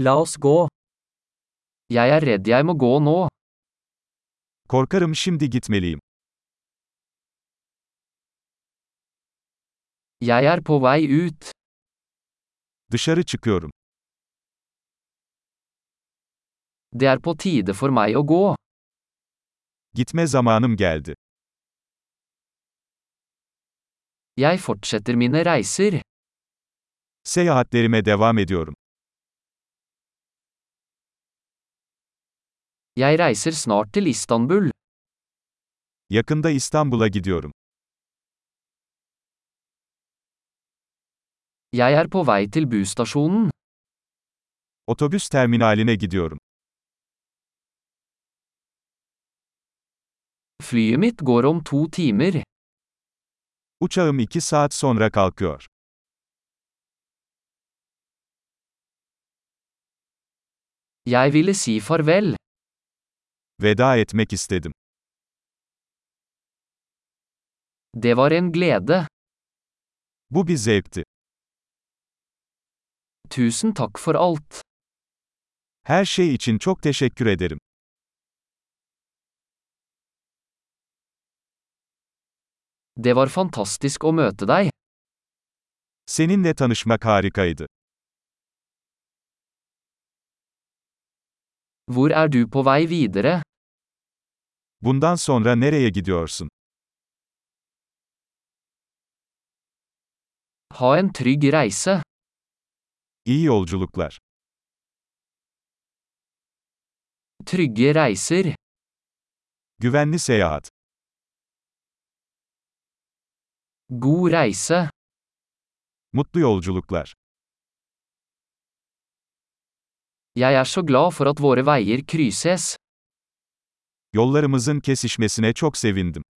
La oss gå. Jeg er redd jeg må gå nå. Korkarım şimdi gitmeliyim. Jeg er på vei ut. Dışarı çıkıyorum. Det er på tide for meg å gå. Gitme zamanım geldi. Jeg fortsetter mine reiser. Seyahatlerime devam ediyorum. Jeg reiser snart til Istanbul. Yakında İstanbul'a gidiyorum. Jeg er på vei til busstasjonen. Otobüs terminaline gidiyorum. Flyet mitt går om to timer. Uçağım 2 saat sonra kalkıyor. Jeg ville si farvel. Veda etmek istedim. Det var en glede. Bu bir zevkti. Tusen takk for alt. Her şey için çok teşekkür ederim. Det var fantastisk å møte deg. Seninle tanışmak harikaydı. Hvor er du på vei videre? Bundan sonra nereye gidiyorsun? Ha en trygg reise. İyi yolculuklar. Trygge reiser. Güvenli seyahat. God reise. Mutlu yolculuklar. Jeg er så glad for at våre veier krysses. Yollarımızın kesişmesine çok sevindim.